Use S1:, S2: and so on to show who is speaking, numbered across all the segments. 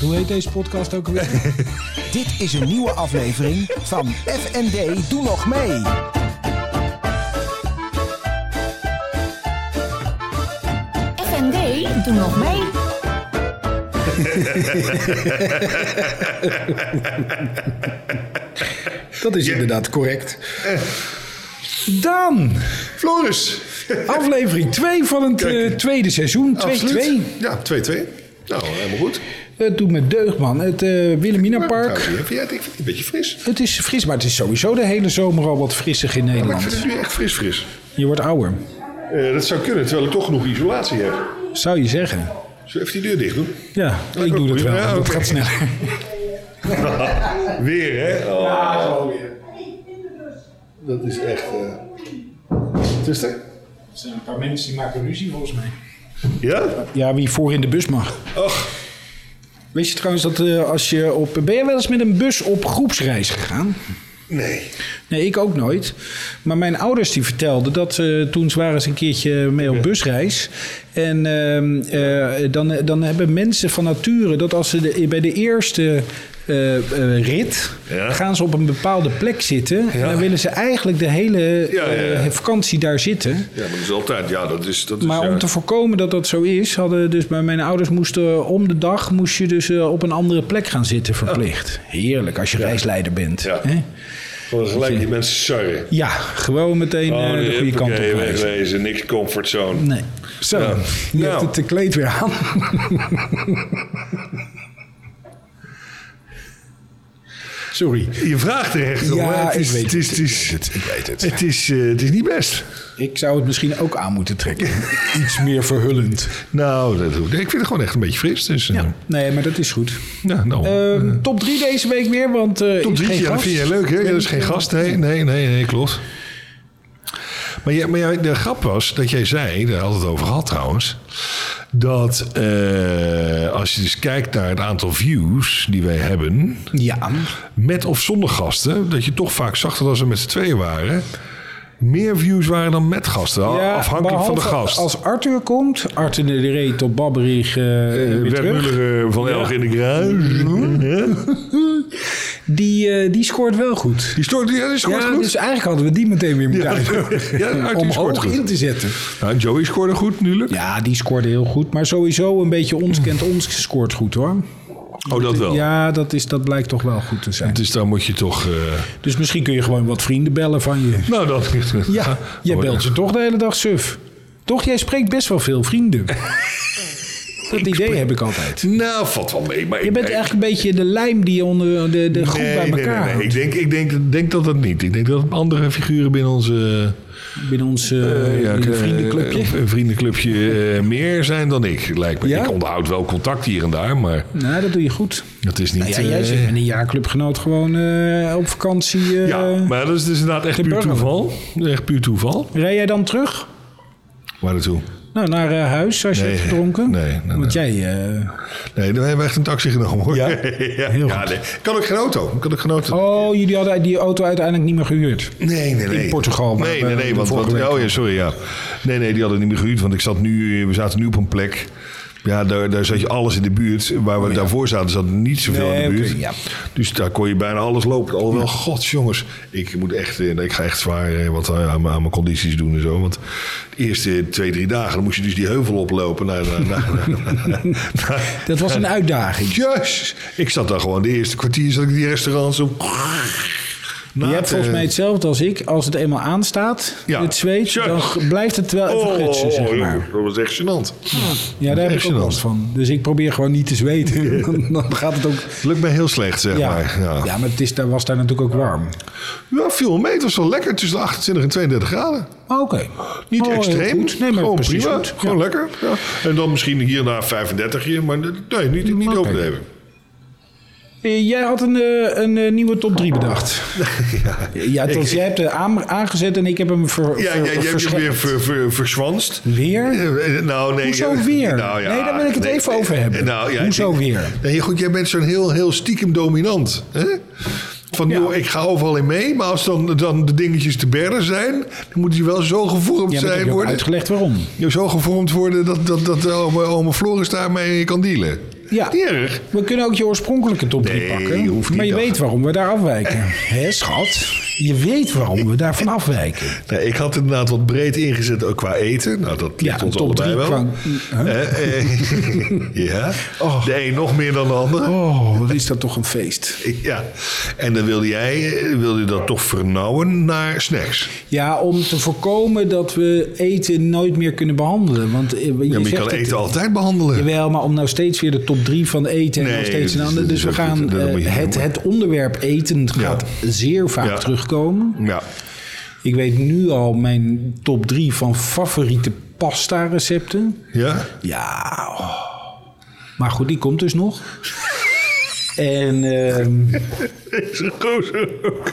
S1: Hoe heet deze podcast ook alweer?
S2: Dit is een nieuwe aflevering van FND Doe Nog Mee.
S3: FND, doe nog mee.
S4: Dat is inderdaad correct.
S5: Eh.
S4: Daan,
S5: Floris.
S4: aflevering 2 van het
S5: Kijk.
S4: eh, tweede seizoen. 2-2.
S5: Absoluut. Ja, 2-2. Nou, helemaal goed.
S4: Het doet me deugd, man. Het eh Wilhelmina
S5: Trouwens,
S4: Park.
S5: hier heb je het. Ik vind het een beetje fris.
S4: Het is fris, maar het is sowieso de hele zomer al wat frissig in
S5: Maar ik vind
S4: Nederland.
S5: het nu echt fris fris.
S4: Je wordt ouder,
S5: Eh, dat zou kunnen, terwijl ik toch genoeg isolatie heb.
S4: zou je zeggen.
S5: Zullen we even die deur dicht doen?
S4: Ja,
S5: Ja,
S4: ik doe dat
S5: ja,
S4: wel. Dat
S5: oké.
S4: gaat sneller.
S5: Weer, hè? Oh. Ja, gewoon weer. Dat is echt... eh, Wat is er?
S1: Er zijn een paar mensen die maken ruzie volgens mij.
S5: Ja?
S4: Ja, wie voor in de bus mag.
S5: Ach,
S4: Weet je trouwens dat eh, als je op... Ben je wel eens met een bus op groepsreis gegaan?
S5: nee.
S4: Nee, ik ook nooit. Maar mijn ouders die vertelden dat eh, toen ze waren ze een keertje mee op busreis. En ehm, eh, dan, dan hebben mensen van nature dat als ze de- bij de eerste eh, eh, rit
S5: Ja.
S4: gaan ze op een bepaalde plek zitten. En
S5: Ja.
S4: dan willen ze eigenlijk de hele
S5: Ja, ja, ja.
S4: eh, vakantie daar zitten.
S5: Ja, maar dat is altijd... Ja, dat is... Dat is
S4: Maar
S5: ja.
S4: om te voorkomen dat dat zo is, hadden dus bij mijn ouders moesten eh, om de dag moest je dus eh, op een andere plek gaan zitten verplicht. Heerlijk als je reisleider bent.
S5: Oh. Ja.
S4: Hè?
S5: Gewoon gelijk die mensen sarren.
S4: Ja, gewoon meteen eh, de goede kant op
S5: Oh, huppakee,
S4: wijzen.
S5: wegwezen. Niks comfortzone.
S4: Nee. Zo,
S5: Ja.
S4: je
S5: Nou.
S4: hebt het te kleed weer aan. Sorry.
S5: Je vraagt er echt om.
S4: Ja,
S5: hè? het
S4: ik
S5: is,
S4: weet
S5: het.
S4: het,
S5: Is, het,
S4: ik weet het,
S5: is,
S4: ik weet het.
S5: Het is, eh, het is niet best.
S4: Ik zou het misschien ook aan moeten trekken. Iets meer verhullend.
S5: Nou, dat hoeft. Ik vind het gewoon echt een beetje fris. Dus, eh,
S4: Ja. Nee, maar dat is goed.
S5: ja, nou,
S4: Ehm, top 3 deze week weer, want eh
S5: Top
S4: is
S5: drie,
S4: geen
S5: ja, dat
S4: gast.
S5: vind jij leuk, hè? Ja, dat is geen gast. Nee, nee, nee, nee klopt. Maar, jij, maar jij, de grap was dat jij zei, daar had het over gehad trouwens, dat eh, als je dus kijkt naar het aantal views die wij hebben,
S4: Ja.
S5: met of zonder gasten, dat je toch vaak zag dat als we met z'n tweeën waren, meer views waren dan met gasten,
S4: Ja,
S5: afhankelijk van de
S4: behalve
S5: gast.
S4: Als Arthur komt, Arthur de Ree tot Babberich eh, weer
S5: Bert
S4: terug.
S5: Muller, eh, van Elg in de Gruis.
S4: Die, eh, die scoort wel goed.
S5: Die stort, ja, die scoort
S4: ja,
S5: goed.
S4: dus eigenlijk hadden we die meteen weer moeten
S5: Ja.
S4: uitnodigen.
S5: Ja, Arthur
S4: om
S5: scoort
S4: hoog
S5: goed.
S4: in te zetten.
S5: Nou, Joey scoorde goed, natuurlijk.
S4: Ja, die scoorde heel goed. Maar sowieso een beetje ons kent ons scoort goed hoor.
S5: Oh, dat wel.
S4: Ja, dat, is, dat blijkt toch wel goed te zijn.
S5: Dus dan moet je toch... eh,
S4: Dus misschien kun je gewoon wat vrienden bellen van je.
S5: Nou, dat ligt er.
S4: Ja, jij
S5: Oh,
S4: belt
S5: ja.
S4: ze toch de hele dag suf. Toch, jij spreekt best wel veel vrienden. Dat idee heb ik altijd.
S5: Nou, valt wel mee. Maar
S4: Je bent eigenlijk een beetje de lijm die je onder de, de groep bij elkaar
S5: Nee, nee, nee. Ik,
S4: houdt.
S5: denk, ik denk, denk dat dat niet. Ik denk dat het andere figuren binnen onze
S4: Binnen ons eh,
S5: eh, ja,
S4: binnen
S5: eh,
S4: vriendenclubje.
S5: eh, vriendenclubje eh, meer zijn dan ik, lijkt me.
S4: Ja?
S5: Ik onderhoud wel contact hier en daar, maar
S4: nou, dat doe je goed.
S5: dat is niet...
S4: Nou Ja, jij
S5: eh,
S4: zit met een jaarclubgenoot gewoon eh, op vakantie. eh,
S5: ja, maar dat is dus inderdaad echt
S4: de
S5: puur
S4: burger.
S5: toeval. Echt puur toeval.
S4: Rij jij dan terug?
S5: Waar naartoe?
S4: Nou, naar eh, huis als je
S5: Nee,
S4: hebt gedronken?
S5: nee, nee, nee.
S4: Want jij... eh,
S5: Nee, we hebben echt een taxi genomen. Hoor.
S4: Ja?
S5: ja,
S4: Heel
S5: ja,
S4: goed.
S5: nee. Kan ook geen auto. Kan ook geen auto.
S4: Oh, jullie hadden die auto uiteindelijk niet meer gehuurd.
S5: Nee, nee, nee.
S4: In Portugal, waar
S5: Nee,
S4: we
S5: nee,
S4: de
S5: nee. Want,
S4: vorige
S5: want-
S4: week
S5: oh ja, sorry, ja. Nee, nee, die hadden niet meer gehuurd. Want ik zat nu, eh, we zaten nu op een plek. Ja, daar, daar zat je alles in de buurt. Waar we daarvoor zaten, zat niet zoveel
S4: Nee,
S5: in de buurt.
S4: oké, ja.
S5: Dus daar kon je bijna alles lopen. Alhoewel, god jongens. Ik, moet echt, eh, ik ga echt zwaar eh, wat aan, aan mijn condities doen en zo. Want de eerste twee, drie dagen dan moest je dus die heuvel oplopen. Naar, eh, naar, naar, naar- naar-
S4: Dat was een uitdaging.
S5: Jezus. Ik zat daar gewoon de eerste kwartier. Zat ik die restaurants op.
S4: Je hebt volgens mij hetzelfde als ik. Als het eenmaal aanstaat,
S5: eh, Ja.
S4: het zweet,
S5: Tja.
S4: dan g- blijft het wel even gutsen, zeg
S5: jongen,
S4: maar.
S5: Oh, dat was echt gênant.
S4: Ja, daar heb ik
S5: echt
S4: ook
S5: gênant.
S4: last van. Dus ik probeer gewoon niet te zweten. Dan- dan gaat het ook...
S5: Het lukt mij heel slecht, zeg
S4: Ja,
S5: maar. Ja.
S4: ja maar het is, daar was daar natuurlijk ook warm.
S5: ja, veel meter was wel lekker tussen de 28 en 32 graden.
S4: Maar Oké.
S5: Niet
S4: Oh, heel
S5: extreem,
S4: goed. Nee, maar
S5: gewoon
S4: precies
S5: prima,
S4: goed.
S5: gewoon lekker. Ja. En dan misschien hier en daar 35 hier, maar nee, niet, niet
S4: Oké.
S5: overdreven.
S4: Eh, Jij had een, eh, een eh, nieuwe top 3 bedacht. ja, tot, jij hebt hem aangezet en ik heb hem ver,
S5: Ja,
S4: ver-
S5: jij jij hebt je
S4: versche-
S5: weer ver, ver- verzwanst.
S4: Weer?
S5: Eh, Nou, nee.
S4: Hoezo
S5: eh,
S4: weer? Nee, daar wil ik het even over hebben.
S5: Eh, nou, ja,
S4: Hoezo
S5: ik-
S4: weer?
S5: Nee, goed, jij bent zo'n heel, heel stiekem dominant. Hè? Van,
S4: Ja.
S5: joh, ik ga overal in mee, maar als dan, dan de dingetjes te berden zijn, dan moeten die wel zo gevormd
S4: Ja, maar ik heb
S5: zijn
S4: je ook
S5: worden.
S4: uitgelegd waarom.
S5: Zo gevormd worden dat, dat, dat ome, ome Floris daarmee kan dealen.
S4: Ja.
S5: Niet erg.
S4: We kunnen ook je oorspronkelijke top 3
S5: Nee,
S4: pakken.
S5: hoeft niet,
S4: maar je
S5: dag.
S4: weet waarom we daar afwijken. Hé, schat. Je weet waarom we daarvan afwijken.
S5: Nou, ik had inderdaad wat breed ingezet ook qua eten. Nou, dat ligt
S4: Ja,
S5: ons
S4: top
S5: allebei
S4: drie
S5: wel.
S4: kwam-
S5: Eh, eh, ja, de een nog meer dan de ander.
S4: Oh, wat is dat toch een feest.
S5: Ja, en dan wilde jij eh, wilde je dat toch vernauwen naar snacks.
S4: Ja, om te voorkomen dat we eten nooit meer kunnen behandelen. Want eh, je,
S5: Ja, maar je
S4: zegt
S5: kan
S4: het-
S5: eten altijd behandelen.
S4: Jawel, maar om nou steeds weer de top 3 van eten en
S5: Nee,
S4: nog steeds een
S5: dat
S4: ander.
S5: is- dat
S4: Dus
S5: is
S4: we
S5: ook niet-
S4: gaan
S5: dat
S4: eh,
S5: moet je niet
S4: het,
S5: doen.
S4: het onderwerp eten gaat zeer vaak
S5: Ja.
S4: terugkomen.
S5: Ja,
S4: Ik weet nu al mijn top 3 van favoriete pasta recepten.
S5: ja.
S4: Ja. oh. Maar goed, die komt dus nog. en ehm,
S5: Deze gozer ook.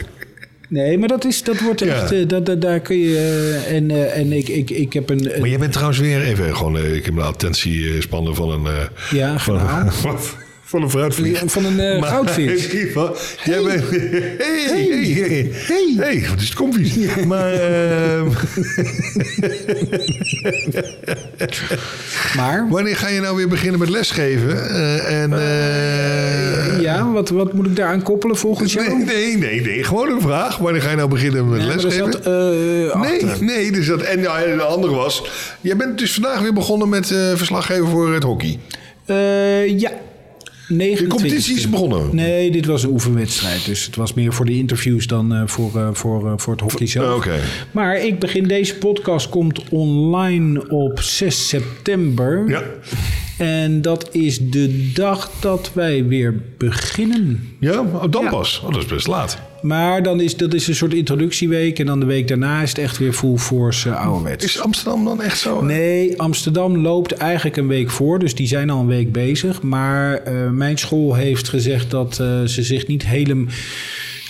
S4: nee, maar dat is dat wordt echt.
S5: Ja.
S4: eh, dat, dat- daar kun je eh, en eh, en ik, ik, ik heb een.
S5: Maar jij bent trouwens weer even gewoon. eh, Ik heb de attentiespannen van een. eh,
S4: ja,
S5: van,
S4: gedaan.
S5: van, van een fruitvlieg.
S4: Van een eh,
S5: Maar
S4: goudvis.
S5: in ieder geval, Jij bent. Hey, hey, hey, hey. Hey, wat is het comfy. Maar. ehm,
S4: Maar
S5: wanneer ga je nou weer beginnen met lesgeven? Eh, en. eh,
S4: ja, wat, wat moet ik daaraan koppelen volgens jou?
S5: nee, nee, nee, nee. Gewoon een vraag. Wanneer ga je nou beginnen met
S4: Maar er
S5: lesgeven?
S4: zat, eh,
S5: Nee,
S4: achter.
S5: nee. Dus dat, en, ja, en de andere was. Jij bent dus vandaag weer begonnen met eh, verslaggeven voor het hockey.
S4: Eh, ja. 29.
S5: De competitie is begonnen.
S4: Nee, dit was een oefenwedstrijd. Dus het was meer voor de interviews dan eh, voor, eh, voor, eh, voor het hockey zelf.
S5: Eh, Oké.
S4: Maar ik begin, deze podcast komt online op 6 september.
S5: Ja.
S4: En dat is de dag dat wij weer beginnen.
S5: Ja, oh, dan
S4: Ja.
S5: pas. Oh, dat is best laat.
S4: Maar dan is, dat is een soort introductieweek. En dan de week daarna is het echt weer full force eh, ouderwets.
S5: Is Amsterdam dan echt zo?
S4: Nee, Amsterdam loopt eigenlijk een week voor. Dus die zijn al een week bezig. Maar eh, mijn school heeft gezegd dat eh, ze zich niet helemaal...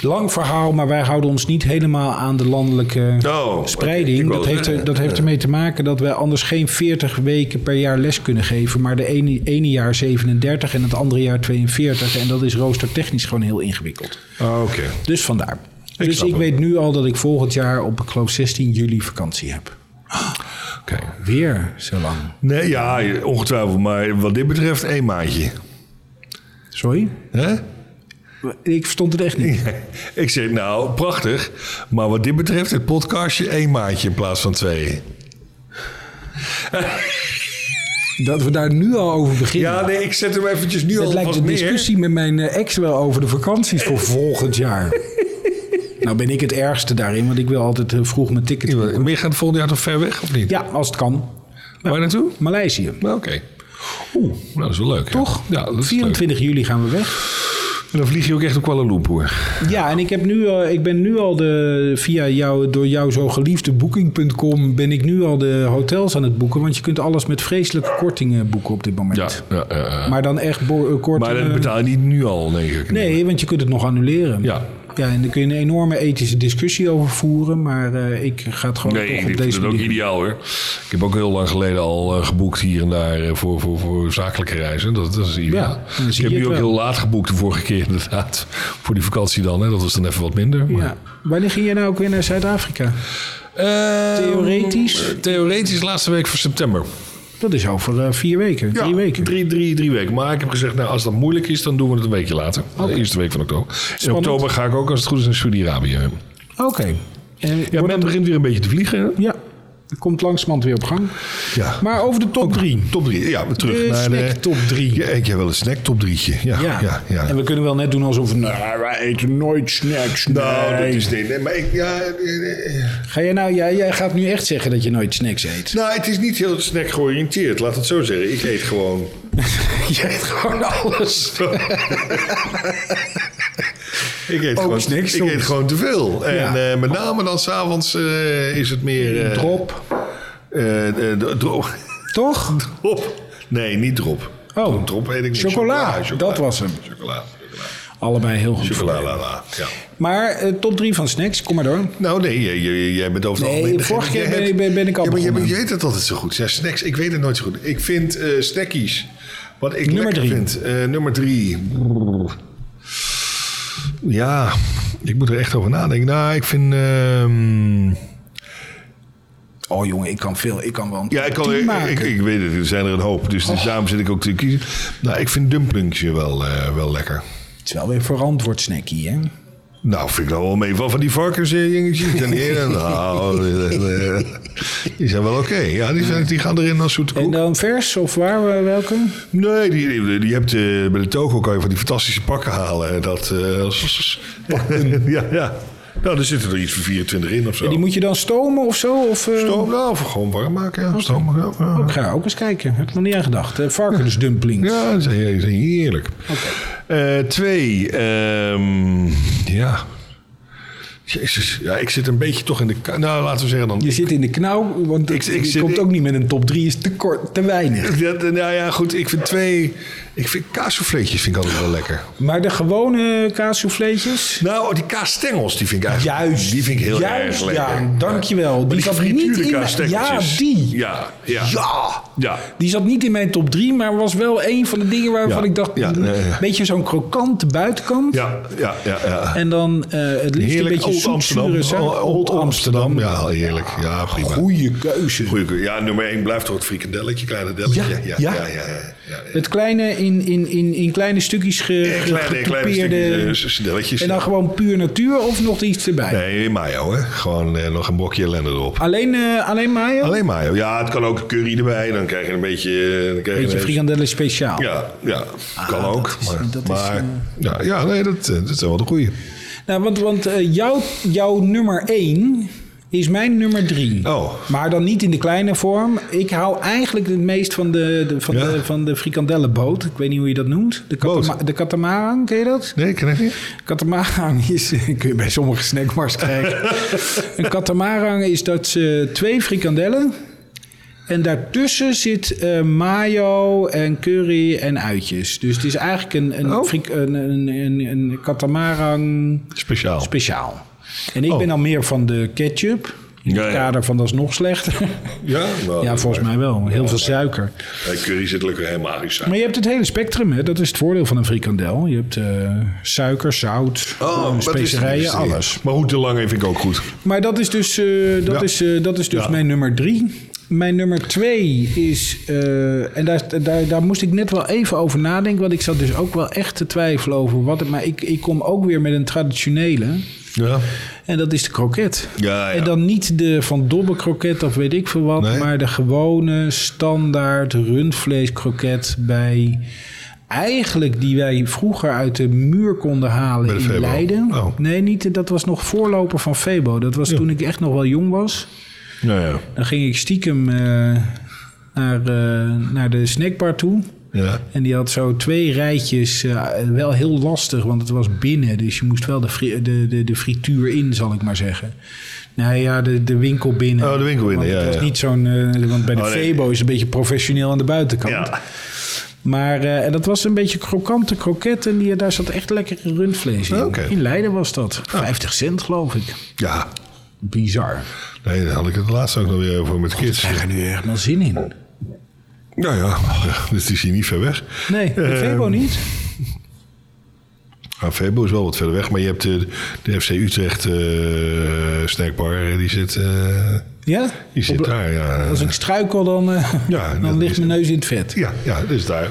S4: Lang verhaal, maar wij houden ons niet helemaal aan de landelijke
S5: Oh,
S4: spreiding.
S5: ik- ik wou
S4: dat, heeft er,
S5: zeggen,
S4: dat heeft ermee te maken dat wij anders geen 40 weken per jaar les kunnen geven. Maar de ene, ene jaar 37 en het andere jaar 42. En dat is roostertechnisch gewoon heel ingewikkeld.
S5: Oh, Oké.
S4: Dus vandaar. dus
S5: snap
S4: ik
S5: het.
S4: weet nu al dat ik volgend jaar op, ik geloof 16 juli vakantie heb.
S5: Oké.
S4: Weer zo lang.
S5: Nee, ja, ongetwijfeld. Maar wat dit betreft, één maandje.
S4: Sorry?
S5: Hè?
S4: Ik verstond het echt niet.
S5: Ik zeg, nou, prachtig. Maar wat dit betreft, het podcastje één maandje in plaats van twee.
S4: Dat we daar nu al over beginnen.
S5: Ja, nee, ik zet hem eventjes nu
S4: het
S5: al
S4: lijkt
S5: vast
S4: de
S5: neer.
S4: discussie met mijn eh, ex wel over de vakanties voor volgend jaar. nou ben ik het ergste daarin, want ik wil altijd eh, vroeg mijn ticket. boeken.
S5: Ben je gaat volgend jaar toch ver weg, of niet?
S4: Ja, als het kan.
S5: Waar naartoe?
S4: Maleisië.
S5: Nou, oké. Oeh, nou, dat is wel leuk. ja.
S4: Toch?
S5: Ja, dat is
S4: 24 juli gaan we weg.
S5: leuk. En dan vlieg je ook echt op Kuala Lumpur.
S4: Ja, en ik, heb nu, al- ik ben nu al de, via jou, door jou zo geliefde booking.com... ben ik nu al de hotels aan het boeken. Want je kunt alles met vreselijke kortingen boeken op dit moment.
S5: ja, ja, ja.
S4: Maar dan echt bo- eh,
S5: Maar
S4: kortingen...
S5: dat betaal je niet nu al, nee.
S4: Nee, want je kunt het nog annuleren.
S5: Ja.
S4: Ja, en daar kun je een enorme ethische discussie over voeren. Maar eh, ik ga het gewoon
S5: Nee, ik
S4: toch op
S5: vind
S4: deze
S5: het ook
S4: manier.
S5: ideaal hoor. Ik heb ook heel lang geleden al eh, geboekt hier en daar eh, voor, voor, voor zakelijke reizen. Dat, dat is ideaal.
S4: Ja, dan
S5: ik
S4: zie
S5: heb
S4: je
S5: nu ook
S4: het wel.
S5: heel laat geboekt de vorige keer inderdaad. Voor die vakantie dan. Hè. Dat was dan even wat minder. Maar,
S4: Ja. Wanneer ging jij nou ook weer naar Zuid-Afrika?
S5: Eh,
S4: Theoretisch?
S5: eh, Theoretisch laatste week van september.
S4: Dat is over eh, vier weken, drie weken.
S5: Drie, drie, drie weken. Maar ik heb gezegd, nou, als dat moeilijk is, dan doen we het een weekje later. De eerste week van oktober. In oktober ga ik ook, als het goed is, naar Saudi-Arabië.
S4: Oké. En wordt-
S5: Ja,
S4: Ja,
S5: men begint weer een beetje te vliegen. hè?
S4: er komt langzamerhand weer op gang.
S5: Ja.
S4: Maar over de top drie.
S5: Top 3. Ja, we terug
S4: De
S5: naar de
S4: snack top drie.
S5: Ja, ik heb wel een snack top 3'tje. Ja, ja. ja,
S4: En we kunnen wel net doen alsof... Nou, wij eten nooit snacks.
S5: Nou, dat
S4: nee.
S5: is niet. Nee, maar ik, ja, eh, eh.
S4: Ga jij nou... Jij, jij gaat nu echt zeggen dat je nooit snacks eet.
S5: nou, het is niet heel snack georiënteerd, laat het zo zeggen. Ik eet gewoon.
S4: je eet gewoon alles.
S5: Ik eet
S4: Ook
S5: gewoon,
S4: snack
S5: ik
S4: soms.
S5: eet gewoon te veel. En
S4: Ja.
S5: eh, met name dan s'avonds eh is het meer. eh,
S4: Drop.
S5: eh, eh, dro- drop.
S4: Toch?
S5: drop. Nee, niet drop.
S4: Oh.
S5: Drop eet ik niet.
S4: Chocola, dat was hem.
S5: Chocola.
S4: Allebei heel goed. voor
S5: Chocola,
S4: je.
S5: la, la. Ja.
S4: Maar eh, top 3 van snacks, kom maar door.
S5: Nou, nee, jij, jij, jij bent over het
S4: Nee,
S5: algemeen degene-
S4: vorige keer
S5: jij
S4: ben
S5: hebt-
S4: ik- ben- ben ik al
S5: ja, maar jij
S4: begonnen.
S5: bent- Je weet het altijd zo goed. Ja, snacks, ik weet het nooit zo goed. Ik vind eh snackies. Wat ik
S4: Nummer
S5: lekker
S4: drie.
S5: vind. Eh, nummer drie. Ja, ik moet er echt over nadenken. Nou, ik vind... ehm,
S4: oh jongen, ik kan veel, ik kan wel. een
S5: Ja, ik, kan,
S4: tien
S5: ik,
S4: maken.
S5: ik, ik weet het, er zijn er een hoop. Dus daarom zit ik ook te kiezen. Nou, ik vind dumplingsje wel, eh, wel lekker.
S4: Het is wel weer verantwoord snackie, hè?
S5: Nou, vind ik nou wel mee. Van, van die varkens, eh, jongetjes en heren. Nou, eh, eh, die zijn wel oké. Ja, die, zijn, die gaan erin als zoete
S4: En eh,
S5: koek.
S4: dan vers of waar, eh, welke?
S5: Nee, die, die, die hebt, eh, bij de Togo kan je van die fantastische pakken halen. eh, Dat, eh, ja, ja. Nou, er zitten er iets van 24 in of zo.
S4: Die moet je dan stomen of zo? Of, eh,
S5: Stoom, nou, of gewoon warm maken. Ja, stoom, ja, ja.
S4: Ik ga ook eens kijken. Heb ik nog niet aan gedacht. Eh, Varkensdumplings.
S5: Ja, die zijn, die zijn heerlijk. Eh, twee, ehm, ja. Jezus, ja, ik zit een beetje toch in de... ka- Nou, laten we zeggen dan...
S4: Je zit in de knauw, want
S5: Ik-
S4: ik,
S5: ik zit-
S4: komt
S5: ik-
S4: ook niet met een top 3. Is te kort, te weinig.
S5: Ja, d- nou ja, goed, ik vind twee... Ik vind kaassouffleetjes vind ik altijd wel lekker.
S4: Maar de gewone kaassouffleetjes?
S5: Nou, die kaasstengels, die vind ik eigenlijk...
S4: Juist.
S5: Die vind ik heel
S4: Juist,
S5: erg lekker.
S4: ja, dankjewel. Die
S5: Maar die
S4: zat niet
S5: gefrituurde
S4: in mijn-
S5: kaasstengeltjes.
S4: Ja, die.
S5: Ja, ja.
S4: Ja!
S5: Ja.
S4: Die zat niet in mijn top 3, maar was wel een van de dingen waarvan
S5: Ja,
S4: ik dacht...
S5: ja,
S4: een
S5: nee, ja.
S4: beetje zo'n krokante buitenkant.
S5: Ja, ja, ja, ja.
S4: En dan eh, het liefst
S5: Heerlijk,
S4: een beetje
S5: Old Amsterdam.
S4: zoetzure zuip.
S5: Old Old Amsterdam, ja, heerlijk. Ja, prima.
S4: Goeie keuze.
S5: Goeie keu- Ja, nummer 1 blijft toch het frikandelletje, kleine delletje.
S4: Ja,
S5: ja,
S4: ja.
S5: ja. ja, ja, ja.
S4: Het kleine in, in, in, in kleine stukjes ge,
S5: Eh, Kleine, kleine
S4: getopeerde-
S5: stukjes, eh, s- snelletjes.
S4: En dan gewoon puur natuur of nog iets erbij?
S5: Nee, mayo, hè? Gewoon eh, nog een blokje ellende erop.
S4: Alleen, eh alleen mayo?
S5: Alleen mayo. Ja, het kan ook curry erbij. Dan krijg je een beetje... eh, Dan krijg je
S4: Beetje
S5: een-
S4: frikandellen speciaal.
S5: Ja, ja. kan
S4: dat
S5: ook.
S4: is-
S5: maar
S4: dat is,
S5: maar-
S4: eh,
S5: ja, ja, nee, dat, eh, dat zijn wel de goeie.
S4: Nou, want want eh, jouw, jouw nummer 1 is mijn nummer 3.
S5: Oh.
S4: Maar dan niet in de kleine vorm. Ik hou eigenlijk het meest van de, de- van
S5: Ja.
S4: de, van de frikandellenboot. Ik weet niet hoe je dat noemt. De,
S5: Boot.
S4: katama- de katamaran, ken je dat?
S5: Nee, ken ik niet.
S4: Katamaran is, kun je bij sommige snackbars krijgen. een katamaran is dat ze twee frikandellen. En daartussen zit eh, mayo en curry en uitjes. Dus het is eigenlijk een, een,
S5: Oh.
S4: frik- een, een, een, een katamaran
S5: Speciaal.
S4: speciaal. En ik
S5: Oh.
S4: ben dan meer van de ketchup. In
S5: Ja,
S4: het
S5: ja.
S4: kader van dat is nog slechter.
S5: ja? Nou,
S4: ja, volgens mij wel. Heel veel suiker.
S5: eh, curry zit lekker helemaal magisch uit.
S4: Maar je hebt het hele spectrum, hè? dat is het voordeel van een frikandel. Je hebt eh, suiker, zout, eh,
S5: Oh, wat is het
S4: specerijen,
S5: liefste?
S4: alles.
S5: Maar goed, de lange vind ik ook goed.
S4: Maar dat is dus, eh, dat
S5: Ja.
S4: is, eh, dat is dus
S5: Ja.
S4: mijn nummer drie. Mijn nummer twee is, eh, en daar, daar, daar moest ik net wel even over nadenken, want ik zat dus ook wel echt te twijfelen over wat het, maar ik, ik kom ook weer met een traditionele.
S5: Ja.
S4: En dat is de kroket.
S5: Ja, ja.
S4: En dan niet de van dobbe kroket of weet ik veel wat,
S5: Nee.
S4: maar de gewone standaard rundvleeskroket bij eigenlijk die wij vroeger uit de muur konden
S5: Bij
S4: halen
S5: de
S4: in
S5: Febo.
S4: Leiden.
S5: Oh.
S4: Nee, niet, dat was nog voorloper van Febo. Dat was toen ik echt nog wel jong was.
S5: Nou ja.
S4: Dan ging ik stiekem eh, naar, eh, naar de snackbar toe.
S5: ja.
S4: En die had zo twee rijtjes, eh, wel heel lastig, want het was binnen. Dus je moest wel de, fri- de, de, de frituur in, zal ik maar zeggen. Nou ja, de, de winkel binnen.
S5: Oh, de winkel binnen,
S4: want
S5: ja,
S4: Het was
S5: ja.
S4: niet zo'n... eh, want bij de
S5: Oh, nee.
S4: Febo is het een beetje professioneel aan de buitenkant.
S5: Ja.
S4: Maar eh, en dat was een beetje krokante kroket. En die, daar zat echt lekker rundvlees in.
S5: Oké. Ah.
S4: In Leiden was dat. 50 cent, geloof ik.
S5: Ja.
S4: Bizar.
S5: Nee, daar had ik het laatst ook nog weer over met kids.
S4: Krijg er nu echt wel zin in.
S5: Nou ja, dus die is hier niet ver weg.
S4: Nee, de
S5: Ehm,
S4: Febo niet.
S5: Nou, Febo is wel wat verder weg, maar je hebt de, de FC Utrecht eh, snackbar, eh, die zit, eh,
S4: Ja?
S5: die zit
S4: Op-
S5: daar. Ja.
S4: Als ik struikel, dan, eh,
S5: Ja, dat
S4: dan
S5: is
S4: ligt mijn neus in het vet.
S5: ja, ja, dus daar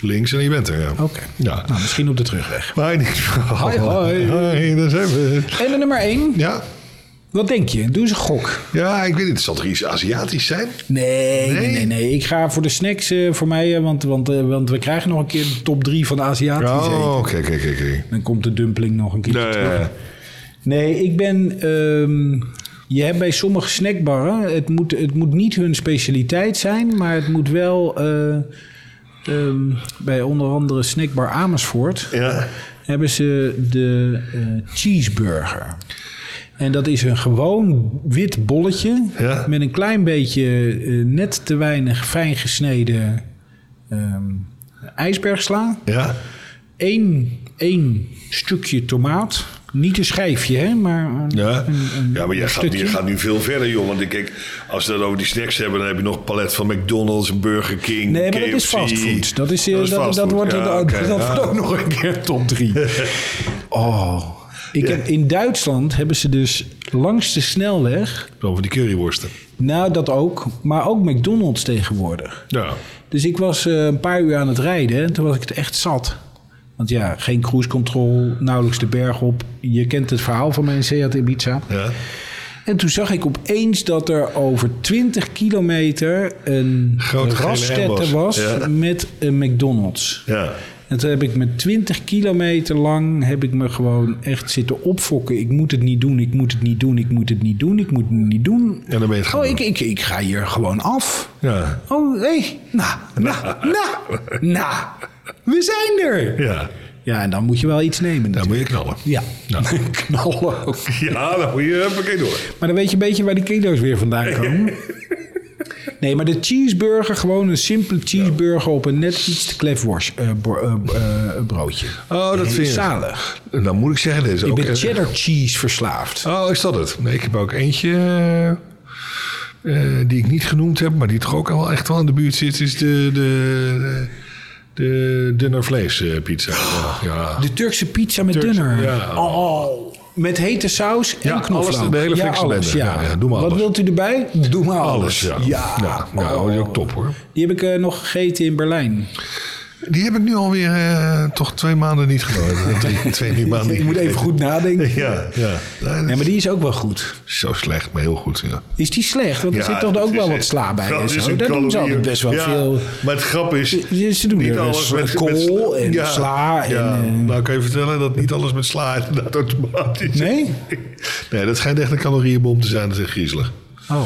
S5: links en je bent er. Ja.
S4: Oké.
S5: Ja.
S4: Nou, misschien op de terugweg.
S5: Maar in ieder geval-
S4: Hoi, hoi.
S5: Hoi, daar zijn we.
S4: En de nummer 1.
S5: Ja,
S4: Wat denk je? Doe eens een gok.
S5: ja, ik weet niet, het zal toch iets Aziatisch zijn?
S4: Nee, nee,
S5: Nee?
S4: nee. nee, Ik ga voor de snacks eh, voor mij. eh, want, want, eh, want we krijgen nog een keer de top 3 van de Aziatische.
S5: Oh, oké, oké, oké, oké.
S4: Dan komt de dumpling nog een keer terug.
S5: Nee,
S4: Nee, ik ben... ehm, je hebt bij sommige snackbarren... Het moet, het moet niet hun specialiteit zijn... maar het moet wel... eh, ehm, bij onder andere snackbar Amersfoort...
S5: ja.
S4: hebben ze de eh, cheeseburger. En dat is een gewoon wit bolletje
S5: Ja.
S4: met een klein beetje eh, net te weinig fijn gesneden ehm, ijsbergsla.
S5: Ja,
S4: Eén, één stukje tomaat. Niet een schijfje, hè, maar een,
S5: ja.
S4: een- een-
S5: ja maar jij
S4: een
S5: gaat, je
S4: stukje.
S5: gaat nu veel verder, joh. Want ik- kijk, als we het over die snacks hebben, dan heb je nog palet van McDonald's, Burger King,
S4: Nee, maar
S5: KFC.
S4: dat is fastfood. Dat, is, eh,
S5: Dat
S4: dat,
S5: is
S4: dat,
S5: fastfood,
S4: wordt,
S5: ja,
S4: dat,
S5: oké,
S4: dat
S5: ja.
S4: wordt ook nog een keer top 3. Oh. Ik heb, in Duitsland hebben ze dus langs de snelweg
S5: Over die curryworsten.
S4: Nou, dat ook. Maar ook McDonald's tegenwoordig.
S5: Ja.
S4: Dus ik was eh, een paar uur aan het rijden en toen was ik het echt zat. Want ja, geen cruise control, nauwelijks de berg op. Je kent het verhaal van mijn Seat Ibiza.
S5: ja.
S4: En toen zag ik opeens dat er over 20 kilometer een
S5: Grote gele
S4: rastette
S5: Ambos.
S4: was
S5: Ja.
S4: met een McDonald's.
S5: ja.
S4: En toen heb ik me 20 kilometer lang heb ik me gewoon echt zitten opfokken. Ik moet het niet doen, ik moet het niet doen, ik moet het niet doen, ik moet het niet doen.
S5: En dan ben je het gaan
S4: Oh,
S5: doen.
S4: ik, ik, ik ga hier gewoon af.
S5: Ja.
S4: Oh, hé, nou, nou, nou, nou, we zijn er.
S5: Ja.
S4: Ja, en dan moet je wel iets nemen
S5: Dan
S4: natuurlijk.
S5: moet je knallen.
S4: Ja,
S5: Nou.
S4: knallen ook.
S5: Ja, dan moet je even door.
S4: Maar dan weet je een beetje waar die kilo's weer vandaan komen. Nee, maar de cheeseburger, gewoon een simpele cheeseburger op een net iets te klef worst, eh, bro- eh, eh, broodje.
S5: Oh, dat
S4: Nee,
S5: vind je.
S4: Zalig.
S5: Dan Nou, moet ik zeggen, dit is
S4: Ik
S5: ook... eh,
S4: ben cheddar cheese verslaafd.
S5: Oh, is dat het? Nee, ik heb ook eentje eh, eh, die ik niet genoemd heb, maar die toch ook wel echt wel in de buurt zit, is de, de, de, de dunner vleespizza. ja.
S4: De Turkse pizza met
S5: Turkse-
S4: dunner.
S5: ja.
S4: Oh, met hete saus en
S5: Ja,
S4: knoflook.
S5: alles, de hele
S4: ja,
S5: fikse
S4: alles,
S5: bende.
S4: ja.
S5: Ja, ja, doe maar
S4: Wat
S5: alles.
S4: wilt u erbij? Doe maar alles.
S5: Alles, ja. Oh.
S4: Ja.
S5: ja, nou, ja, dat is ook top hoor.
S4: Die heb ik eh, nog gegeten in Berlijn.
S5: Die heb ik nu alweer eh, toch twee maanden niet genomen. twee, twee drie maanden
S4: Ik
S5: niet
S4: moet even
S5: gegeten.
S4: goed nadenken.
S5: Ja, ja. Nee,
S4: Nee,
S5: dat
S4: maar
S5: is
S4: die is ook wel goed.
S5: Zo slecht, maar heel goed. Ja.
S4: Is die slecht? Want er
S5: Ja,
S4: zit toch
S5: dat
S4: ook
S5: is
S4: wel
S5: het.
S4: wat sla bij
S5: Dat
S4: en
S5: is
S4: zo.
S5: een
S4: Dat doen ze altijd
S5: calorieën.
S4: best wel
S5: Ja,
S4: veel.
S5: Maar het grap is...
S4: Ze- ze doen
S5: niet
S4: er
S5: alles
S4: dus
S5: met,
S4: kool
S5: met-
S4: en sla en,
S5: ja.
S4: eh,
S5: Nou, kan je vertellen dat niet alles met sla inderdaad automatisch is.
S4: Nee?
S5: Nee, dat schijnt echt een calorieënbom te zijn. Dat is echt griezelig.
S4: Oh,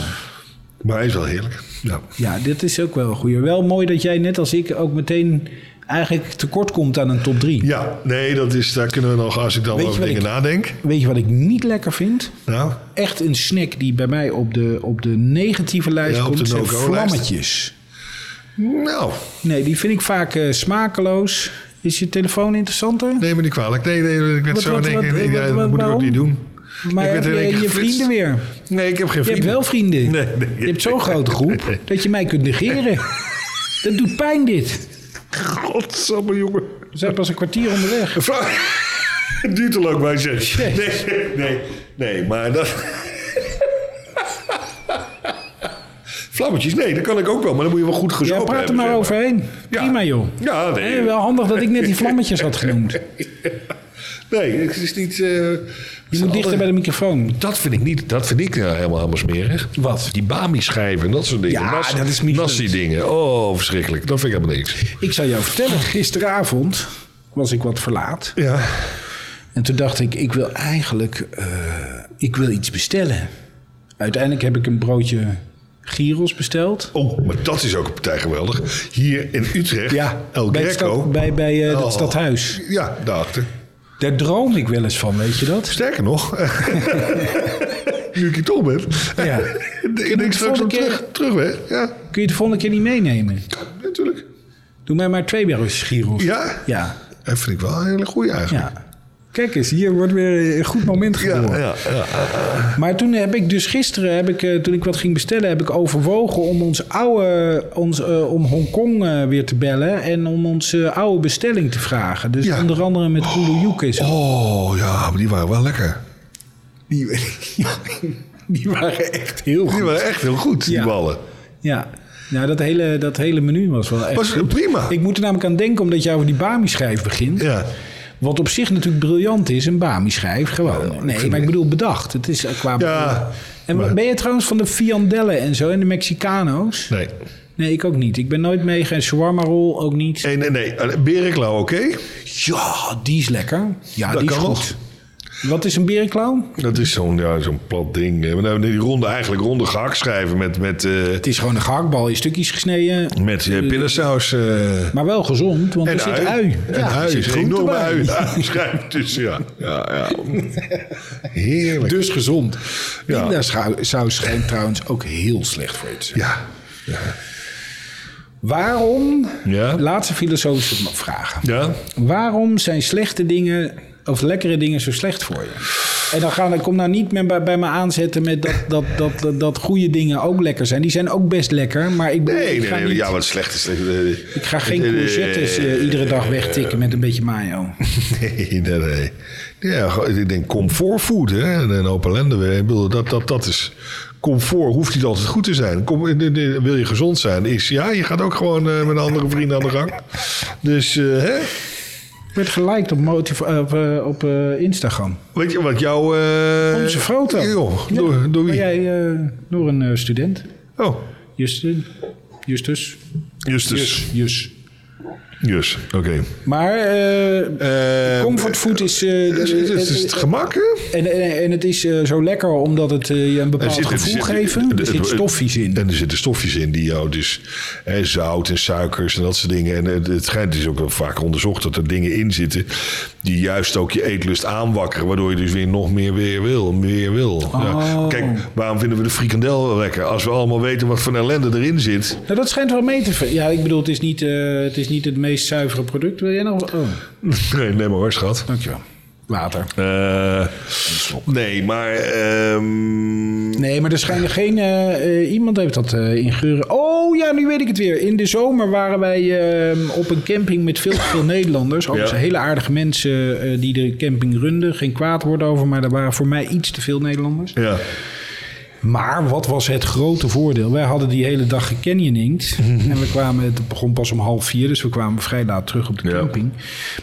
S5: Maar hij is wel heerlijk. Ja.
S4: ja, dit is ook wel een goeie. Wel mooi dat jij net als ik ook meteen eigenlijk tekort komt aan een top 3.
S5: ja, nee, dat is, daar kunnen we nog, als ik dan
S4: Weet je
S5: over
S4: wat
S5: dingen
S4: ik-
S5: nadenk.
S4: Weet je wat ik niet lekker vind?
S5: Nou,
S4: Echt een snack die bij mij op de, op de negatieve lijst
S5: Ja, op de
S4: komt, zijn
S5: no-go-lijst.
S4: vlammetjes.
S5: nou,
S4: Nee, die vind ik vaak eh, smakeloos. Is je telefoon interessanter?
S5: neem me niet kwalijk. Nee, nee, ik werd
S4: Wat-
S5: zo
S4: wat-
S5: in één
S4: wat-
S5: keer, ja,
S4: wat-
S5: dat
S4: wat-
S5: moet ik ook
S4: waarom?
S5: niet doen.
S4: Maar
S5: ik
S4: heb
S5: werd in
S4: je
S5: één keer
S4: je
S5: geflitst.
S4: vrienden weer?
S5: Nee, ik heb geen
S4: Je
S5: vrienden.
S4: hebt wel vrienden.
S5: Nee, nee.
S4: Je hebt zo'n grote groep dat je mij kunt negeren. Dat doet pijn dit.
S5: Godsamme, jongen.
S4: We zijn pas een kwartier onderweg.
S5: Vraag. Het duurt te lang bij zes.
S4: Nee.
S5: Nee, nee, nee, maar dat. Vlammetjes, nee, dat kan ik ook wel, maar dan moet je wel goed gezopen
S4: Ja, praat er
S5: hebben,
S4: maar
S5: zeg
S4: overheen.
S5: Ja.
S4: Prima joh.
S5: Ja, nee.
S4: Hé, wel handig dat ik net die vlammetjes had genoemd.
S5: Nee, het is niet. eh,
S4: Je moet dichter bij de microfoon.
S5: Dat vind ik niet, dat vind ik eh, helemaal helemaal smerig.
S4: Wat?
S5: Die Bami-schijven en dat soort dingen.
S4: Ja, dat is niet
S5: Nasty dingen. Oh, verschrikkelijk. Dat vind ik helemaal niks.
S4: Ik zal jou vertellen, gisteravond was ik wat verlaat.
S5: Ja.
S4: En toen dacht ik, ik wil eigenlijk eh, ik wil iets bestellen. Uiteindelijk heb ik een broodje gyros besteld.
S5: Oh, maar dat is ook een partij geweldig. Hier in Utrecht, El
S4: bij, het
S5: Greco.
S4: stad- bij, bij eh,
S5: Oh.
S4: dat stadhuis.
S5: Ja, daarachter.
S4: Daar droom ik wel eens van, weet je dat?
S5: Sterker nog, nu ik hier toch ben,
S4: Ja.
S5: ik denk straks
S4: volgende
S5: nog
S4: keer-
S5: terug, terug weg. Ja,
S4: Kun je het de volgende keer niet meenemen?
S5: natuurlijk.
S4: Doe mij maar twee barrels gyros.
S5: Ja?
S4: Ja.
S5: Dat vind ik wel een hele goeie eigenlijk.
S4: ja. Kijk eens, hier wordt weer een goed moment geboren.
S5: ja, ja.
S4: Maar toen heb ik dus gisteren, heb ik, eh, toen ik wat ging bestellen, heb ik overwogen om ons oude, ons, eh, om Hongkong eh, weer te bellen en om onze oude bestelling te vragen. Dus
S5: Ja.
S4: onder andere met Kuloyuk is.
S5: Oh ja, maar die waren wel lekker.
S4: Die, die waren echt heel
S5: Die waren echt heel goed, die
S4: Ja.
S5: ballen.
S4: Ja, nou, dat, hele, dat hele menu was wel echt.
S5: Was prima.
S4: Ik moet er namelijk aan denken, omdat jij over die Bami-schijf begint.
S5: Ja.
S4: Wat op zich natuurlijk briljant is, een Bami-schijf. Gewoon. nee, maar ik bedoel bedacht. Het is eh, qua.
S5: Ja,
S4: en
S5: maar-
S4: ben je trouwens van de Fiandellen en zo en de Mexicano's?
S5: Nee.
S4: Nee, ik ook niet. Ik ben nooit mee. Geen shawarma rol, ook niet.
S5: Nee, nee, nee. Eh, Berenklauw, oké.
S4: Ja, die is lekker. Ja,
S5: Dat
S4: die is
S5: kan
S4: goed.
S5: nog.
S4: Wat is een berenklauw?
S5: Dat is zo'n ja, zo'n plat ding. Eh, maar nou, Die ronde, eigenlijk ronde gehaktschijven met, met, eh,
S4: Het is gewoon een gehaktbal in stukjes gesneden.
S5: met eh, pindasaus. eh,
S4: Maar wel gezond, want
S5: En
S4: er zit
S5: ui.
S4: ui.
S5: En
S4: Ja, er
S5: ui.
S4: zit
S5: Een
S4: groente
S5: enorme
S4: bij.
S5: ui. Ja, schijf dus, ja. ja, ja. Heerlijk.
S4: Dus gezond.
S5: Ja.
S4: Pindasaus schijnt trouwens ook heel slecht voor je te zijn.
S5: ja.
S4: Waarom,
S5: Ja.
S4: laatste filosofische vragen.
S5: Ja.
S4: Waarom zijn slechte dingen of lekkere dingen zo slecht voor je? En dan gaan, kom nou niet meer bij, bij me aanzetten met dat, dat, dat, dat, dat goede dingen ook lekker zijn. Die zijn ook best lekker, maar ik,
S5: Nee,
S4: ik
S5: nee,
S4: ga,
S5: nee,
S4: niet-
S5: ja, wat slecht is. slecht, eh,
S4: ik ga geen
S5: eh,
S4: courgettes eh,
S5: eh,
S4: iedere dag wegtikken met een beetje mayo.
S5: Nee, nee, nee. Ja, gewoon, ik denk comfortfood, hè. En een hoop ellende. weer. Ik bedoel, dat, dat, dat is comfort hoeft niet altijd goed te zijn. Kom, de- de- wil je gezond zijn? Is ja, je gaat ook gewoon eh, met andere vrienden aan de gang. Dus eh, hè?
S4: Ik werd geliked op, motiv- eh, op, eh, op eh, Instagram.
S5: Weet je wat jouw... eh,
S4: Onze foto.
S5: Joh,
S4: Ja.
S5: door, door wie?
S4: Maar jij, eh, door een eh, student.
S5: Oh,
S4: Justin. Justus.
S5: Justus. Jus.
S4: Jus.
S5: Oké.
S4: Maar eh
S5: Eh,
S4: comfortfood is... eh,
S5: Het is, het is het gemak, hè?
S4: en, en, en het is eh, zo lekker omdat het eh, je een bepaald
S5: Er zit- er
S4: gevoel
S5: zit-
S4: geeft.
S5: er-
S4: Er
S5: er-
S4: zitten stoffies in.
S5: En er zitten stofjes in die jou dus hè, zout en suikers en dat soort dingen. En het, het schijnt is ook wel vaak onderzocht dat er dingen in zitten die juist ook je eetlust aanwakkeren, waardoor je dus weer nog meer weer wil, meer wil. Ja. Kijk, waarom vinden we de frikandel wel lekker? Als we allemaal weten wat voor een ellende erin zit.
S4: Nou, dat schijnt wel mee te... vallen. Ja, ik bedoel, het is niet, eh, het, is niet het meest zuivere product. Wil jij nog... Oh,
S5: Nee, nee maar hoor, schat.
S4: dankjewel. Water.
S5: Eh, nee, maar ehm,
S4: Nee, maar er schijnen geen... eh, eh, iemand heeft dat eh in geuren. Oh ja, nu weet ik het weer. In de zomer waren wij eh, op een camping met veel te veel Nederlanders. Overigens
S5: Ja.
S4: hele aardige mensen eh, die de camping runden. Geen kwaad woord over, maar er waren voor mij iets te veel Nederlanders.
S5: ja.
S4: Maar wat was het grote voordeel? Wij hadden die hele dag gecanyoningd. En we kwamen, het begon pas om half vier, dus we kwamen vrij laat terug op de
S5: Ja.
S4: camping.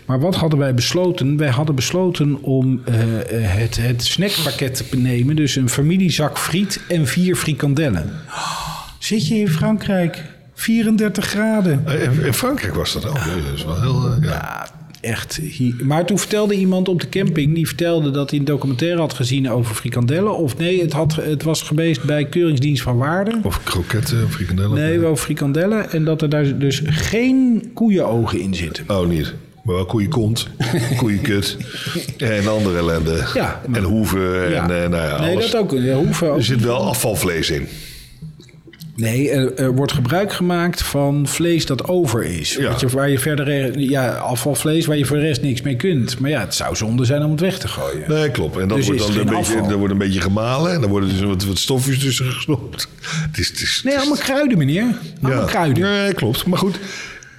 S4: Maar wat hadden wij besloten? Wij hadden besloten om eh, eh, het, het snackpakket te nemen. Dus een familiezak friet en vier frikandellen. Zit je in Frankrijk? 34 graden.
S5: Eh, In in Frankrijk was dat ook. Dat is wel heel. eh, ja.
S4: Ja, echt. hier- Maar toen vertelde iemand op de camping, die vertelde dat hij een documentaire had gezien over frikandellen. Of nee, het, had, het was geweest bij Keuringsdienst van Waarde.
S5: Of kroketten, of frikandellen.
S4: Nee, wel frikandellen. En dat er daar dus geen koeienogen in zitten.
S5: Oh, niet. Maar wel koeien kont, koeien kut en andere ellende.
S4: Ja, maar-
S5: en hoeven
S4: Ja.
S5: en eh, nou ja,
S4: nee,
S5: alles.
S4: dat ook. eh, Hoeveel?
S5: Er zit wel afvalvlees in.
S4: Nee, er, er wordt gebruik gemaakt van vlees dat over is.
S5: Ja.
S4: Wat je, waar je verder, eh, ja, afvalvlees waar je voor de rest niks mee kunt. Maar ja, het zou zonde zijn om het weg te gooien.
S5: Nee, klopt. En dat
S4: Dus
S5: wordt
S4: is
S5: dan een
S4: geen
S5: beetje,
S4: afval.
S5: dan wordt een beetje gemalen. En dan worden dus wat, wat stofjes tussen gesnopt. Het is, het is,
S4: Nee,
S5: het is-
S4: allemaal kruiden, meneer. Allemaal
S5: ja.
S4: kruiden.
S5: Nee, klopt. Maar goed,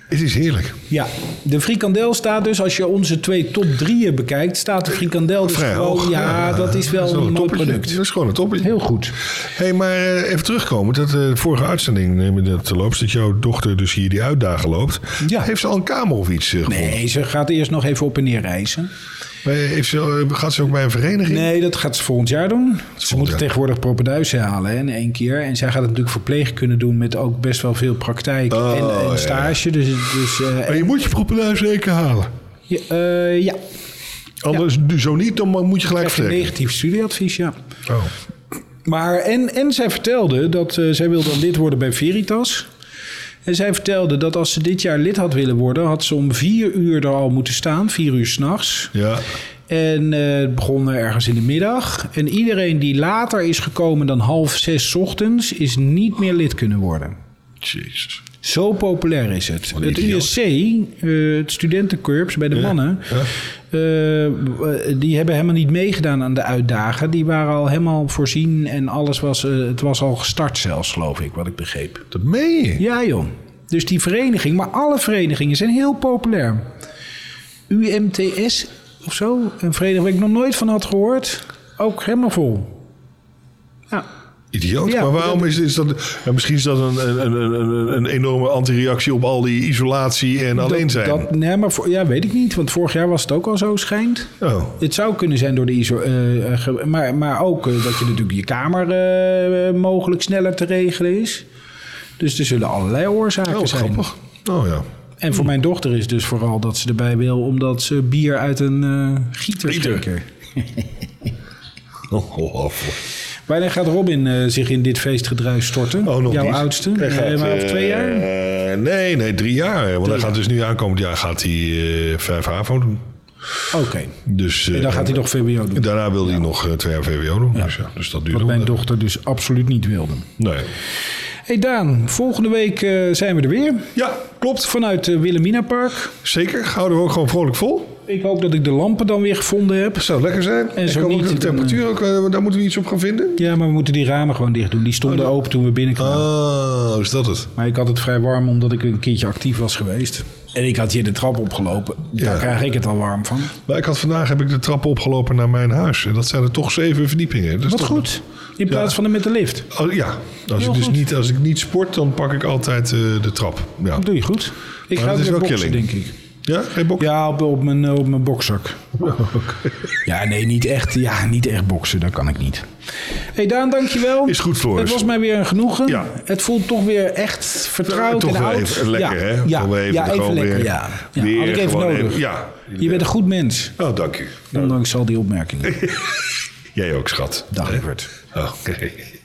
S5: het is heerlijk.
S4: Ja, de frikandel staat dus, als je onze twee top drieën bekijkt, staat de frikandel dus
S5: Vrij
S4: gewoon-
S5: hoog.
S4: Ja, dat is wel
S5: wel
S4: een mooi
S5: toppetje.
S4: product.
S5: Dat is gewoon een toppetje.
S4: Heel goed.
S5: Hé, hey, maar eh, even terugkomen. Dat eh, de vorige uitzending eh, met dat te loopt, dat jouw dochter dus hier die uitdagen loopt.
S4: Ja.
S5: Heeft ze al een kamer of iets eh, gevonden?
S4: Nee, ze gaat eerst nog even op en neer reizen.
S5: Maar Heeft ze, eh, gaat ze ook bij een vereniging?
S4: Nee, dat gaat ze volgend jaar doen. Ze moeten
S5: jaar.
S4: tegenwoordig propenduizen halen hè, in één keer. En zij gaat het natuurlijk verpleeg kunnen doen met ook best wel veel praktijk
S5: Oh,
S4: en,
S5: ja. Oh,
S4: en stage. Dus, dus eh,
S5: Maar je moet je propenduis zeker halen.
S4: ja, eh, ja.
S5: Anders, zo niet, dan moet je gelijk
S4: Krijg je een
S5: vertrekken.
S4: negatief studieadvies, ja.
S5: Oh.
S4: Maar, en, en zij vertelde dat eh, zij wilde dan lid worden bij Veritas. En zij vertelde dat als ze dit jaar lid had willen worden, had ze om vier uur er al moeten staan, vier uur s'nachts.
S5: Ja.
S4: En eh, het begon ergens in de middag. En iedereen die later is gekomen dan half zes 's ochtends, is niet meer lid kunnen worden.
S5: Jezus.
S4: Zo populair is het.
S5: Wat een
S4: Het
S5: idioot.
S4: ISC, eh, het studentencorps bij de mannen, eh, eh, die hebben helemaal niet meegedaan aan de uitdagen. Die waren al helemaal voorzien en alles was, eh, het was al gestart zelfs, geloof ik, wat ik begreep.
S5: Dat meen je?
S4: Ja, joh. Dus die vereniging, maar alle verenigingen zijn heel populair. UMTS of zo, een vereniging waar ik nog nooit van had gehoord. Ook helemaal vol. Ja.
S5: Idioot.
S4: Ja,
S5: maar waarom is, is dat... ja, misschien is dat een, een, een, een, een enorme antireactie op al die isolatie en alleen zijn.
S4: Dat, nee, maar voor- ja, weet ik niet, want vorig jaar was het ook al zo schijnt.
S5: Oh.
S4: Het zou kunnen zijn door de ISO. eh, eh, ge- maar, maar ook eh, dat je natuurlijk je kamer eh, eh, mogelijk sneller te regelen is. Dus er zullen allerlei oorzaken
S5: Oh,
S4: zijn.
S5: grappig. Oh ja.
S4: En voor mijn dochter is dus vooral dat ze erbij wil, omdat ze bier uit een eh gieter
S5: Gieter.
S4: schenken.
S5: Oh, Ongelooflijk.
S4: Wanneer gaat Robin eh, zich in dit feestgedruis storten?
S5: Oh, nog
S4: Jouw
S5: niet.
S4: oudste?
S5: Hij
S4: Eh,
S5: gaat,
S4: maar over
S5: eh,
S4: twee jaar?
S5: nee, nee, drie jaar. Want hij gaat dus nu aankomend jaar gaat hij eh, vijf HAVO doen.
S4: Oké.
S5: Dus, eh,
S4: En dan gaat hij nog VWO
S5: en
S4: doen.
S5: daarna wil hij nog eh, twee jaar VWO doen. Dus, ja, dus dat duurt
S4: Wat
S5: nog
S4: mijn
S5: wel.
S4: dochter dus absoluut niet wilde.
S5: Nee.
S4: hey Daan, volgende week eh, zijn we er weer.
S5: Ja, klopt.
S4: Vanuit eh Wilhelmina Park.
S5: Zeker, houden we ook gewoon vrolijk vol.
S4: Ik hoop dat ik de lampen dan weer gevonden heb.
S5: Zou lekker zijn.
S4: En
S5: ik
S4: zo
S5: hoop
S4: niet,
S5: dat de
S4: dan,
S5: temperatuur ook, eh, daar moeten we iets op gaan vinden.
S4: Ja, maar we moeten die ramen gewoon dicht doen. Die stonden open toen we binnenkwamen.
S5: Oh, is dat het?
S4: Maar ik had het vrij warm omdat ik een keertje actief was geweest. En ik had hier de trap opgelopen. Daar
S5: Ja.
S4: krijg ik het al warm van.
S5: Maar ik had vandaag heb ik de trappen opgelopen naar mijn huis. En dat zijn er toch zeven verdiepingen. Dat is
S4: Wat
S5: toch-
S4: goed. In plaats van hem met de lift.
S5: Oh, ja, als ik, dus
S4: goed.
S5: niet, als ik niet sport, dan pak ik altijd eh, de trap. Ja,
S4: Dat doe je goed. Ik
S5: Maar
S4: ga
S5: dat
S4: ook
S5: is
S4: weer
S5: wel
S4: boksen,
S5: killing.
S4: denk ik.
S5: ja geen bok?
S4: Ja, op, op mijn, eh, op mijn bokzak.
S5: Oh,
S4: Ja, nee, niet echt, ja, niet echt boksen. Dat kan ik niet. hey Daan, dankjewel.
S5: Is goed voor
S4: Het
S5: ons.
S4: was mij weer een genoegen.
S5: Ja.
S4: Het voelt toch weer echt vertrouwd
S5: toch
S4: en
S5: wel
S4: oud.
S5: even lekker, hè?
S4: Ja,
S5: Gewoon even
S4: ja,
S5: er gewoon
S4: lekker.
S5: weer-
S4: ja. Ja,
S5: weer
S4: had ik even
S5: gewoon
S4: nodig.
S5: even- ja.
S4: Je bent een goed mens.
S5: Oh, dank u.
S4: Ondanks al die opmerkingen.
S5: Jij ook, schat. Oh,
S4: Dag, Evert.
S5: Oké.